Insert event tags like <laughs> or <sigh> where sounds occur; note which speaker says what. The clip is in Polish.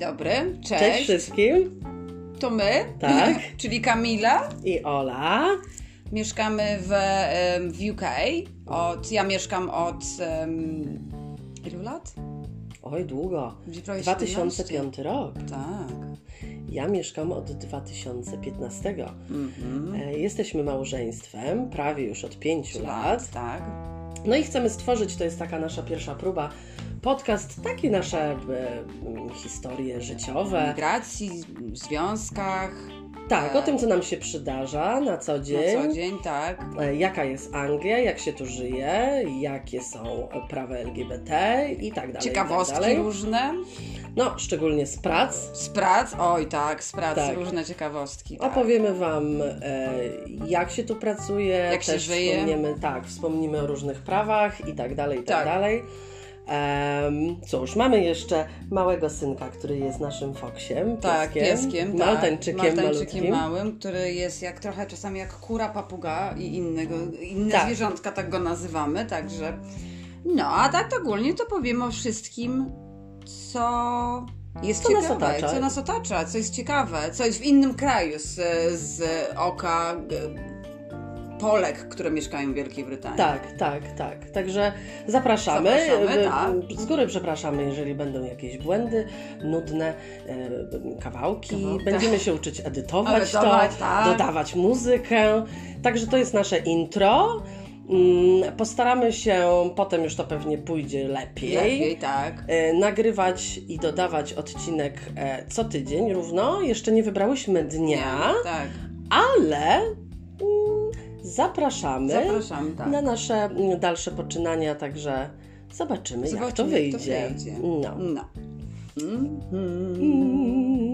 Speaker 1: dobry, cześć.
Speaker 2: Cześć wszystkim
Speaker 1: To my,
Speaker 2: Tak.
Speaker 1: <laughs> czyli Kamila.
Speaker 2: i Ola.
Speaker 1: Mieszkamy w, em, w UK. Od, ja mieszkam od em, ilu lat?
Speaker 2: Oj, długo.
Speaker 1: Będzie prawie 17.
Speaker 2: 2005 rok.
Speaker 1: Tak.
Speaker 2: Ja mieszkam od 2015.
Speaker 1: Mhm.
Speaker 2: E, Jesteśmy małżeństwem prawie już od 5 lat.
Speaker 1: Tak.
Speaker 2: No i chcemy stworzyć, to jest taka nasza pierwsza próba, podcast, takie nasze e, m, historie życiowe.
Speaker 1: Migracji, związkach.
Speaker 2: Tak,
Speaker 1: E,
Speaker 2: o tym, co nam się przydarza na co dzień.
Speaker 1: Na co dzień, tak.
Speaker 2: E, Jaka jest Anglia, jak się tu żyje, jakie są prawa LGBT i tak dalej. i
Speaker 1: Ciekawostki
Speaker 2: tak dalej.
Speaker 1: różne.
Speaker 2: No, szczególnie z prac,
Speaker 1: Z prac, oj tak, z prac
Speaker 2: Tak.
Speaker 1: różne ciekawostki. Tak.
Speaker 2: Opowiemy Wam, e, jak się tu pracuje,
Speaker 1: Jak się
Speaker 2: też
Speaker 1: żyje.
Speaker 2: wspomniemy, tak, wspomnimy o różnych prawach i tak dalej, i tak,
Speaker 1: Tak.
Speaker 2: dalej. Em, cóż, mamy jeszcze małego synka, który jest naszym foksiem,
Speaker 1: Tak,
Speaker 2: pieskiem,
Speaker 1: pieskiem, tak.
Speaker 2: maltańczykiem,
Speaker 1: maltańczykiem
Speaker 2: malutkim.
Speaker 1: małym, który jest jak trochę czasami jak kura, papuga i innego, inne
Speaker 2: Tak.
Speaker 1: zwierzątka, tak go nazywamy, także no, a tak ogólnie to powiemy o wszystkim, co jest
Speaker 2: Co nas
Speaker 1: ciekawe,
Speaker 2: otacza.
Speaker 1: co nas otacza, co jest ciekawe, co jest w innym kraju z, z oka e, Polek, które mieszkają w Wielkiej Brytanii.
Speaker 2: Tak, tak, tak. Także zapraszamy.
Speaker 1: Zapraszamy,
Speaker 2: E,
Speaker 1: tak.
Speaker 2: Z góry przepraszamy, jeżeli będą jakieś błędy, nudne e, kawałki.
Speaker 1: Kawałki,
Speaker 2: Będziemy się uczyć edytować
Speaker 1: Edytować,
Speaker 2: to,
Speaker 1: tak.
Speaker 2: dodawać muzykę. Także to jest nasze intro. Mm, Postaramy się, potem już to pewnie pójdzie lepiej,
Speaker 1: Lepiej, tak.
Speaker 2: e, nagrywać i dodawać odcinek e, co tydzień równo. Jeszcze nie wybrałyśmy dnia,
Speaker 1: Tak,
Speaker 2: ale mm, zapraszamy
Speaker 1: zapraszamy, tak.
Speaker 2: na nasze mm, dalsze poczynania, także zobaczymy, jak to No.
Speaker 1: Zobaczymy, jak to
Speaker 2: wyjdzie.
Speaker 1: wyjdzie.
Speaker 2: No.
Speaker 1: No. Mhm.
Speaker 2: Mm.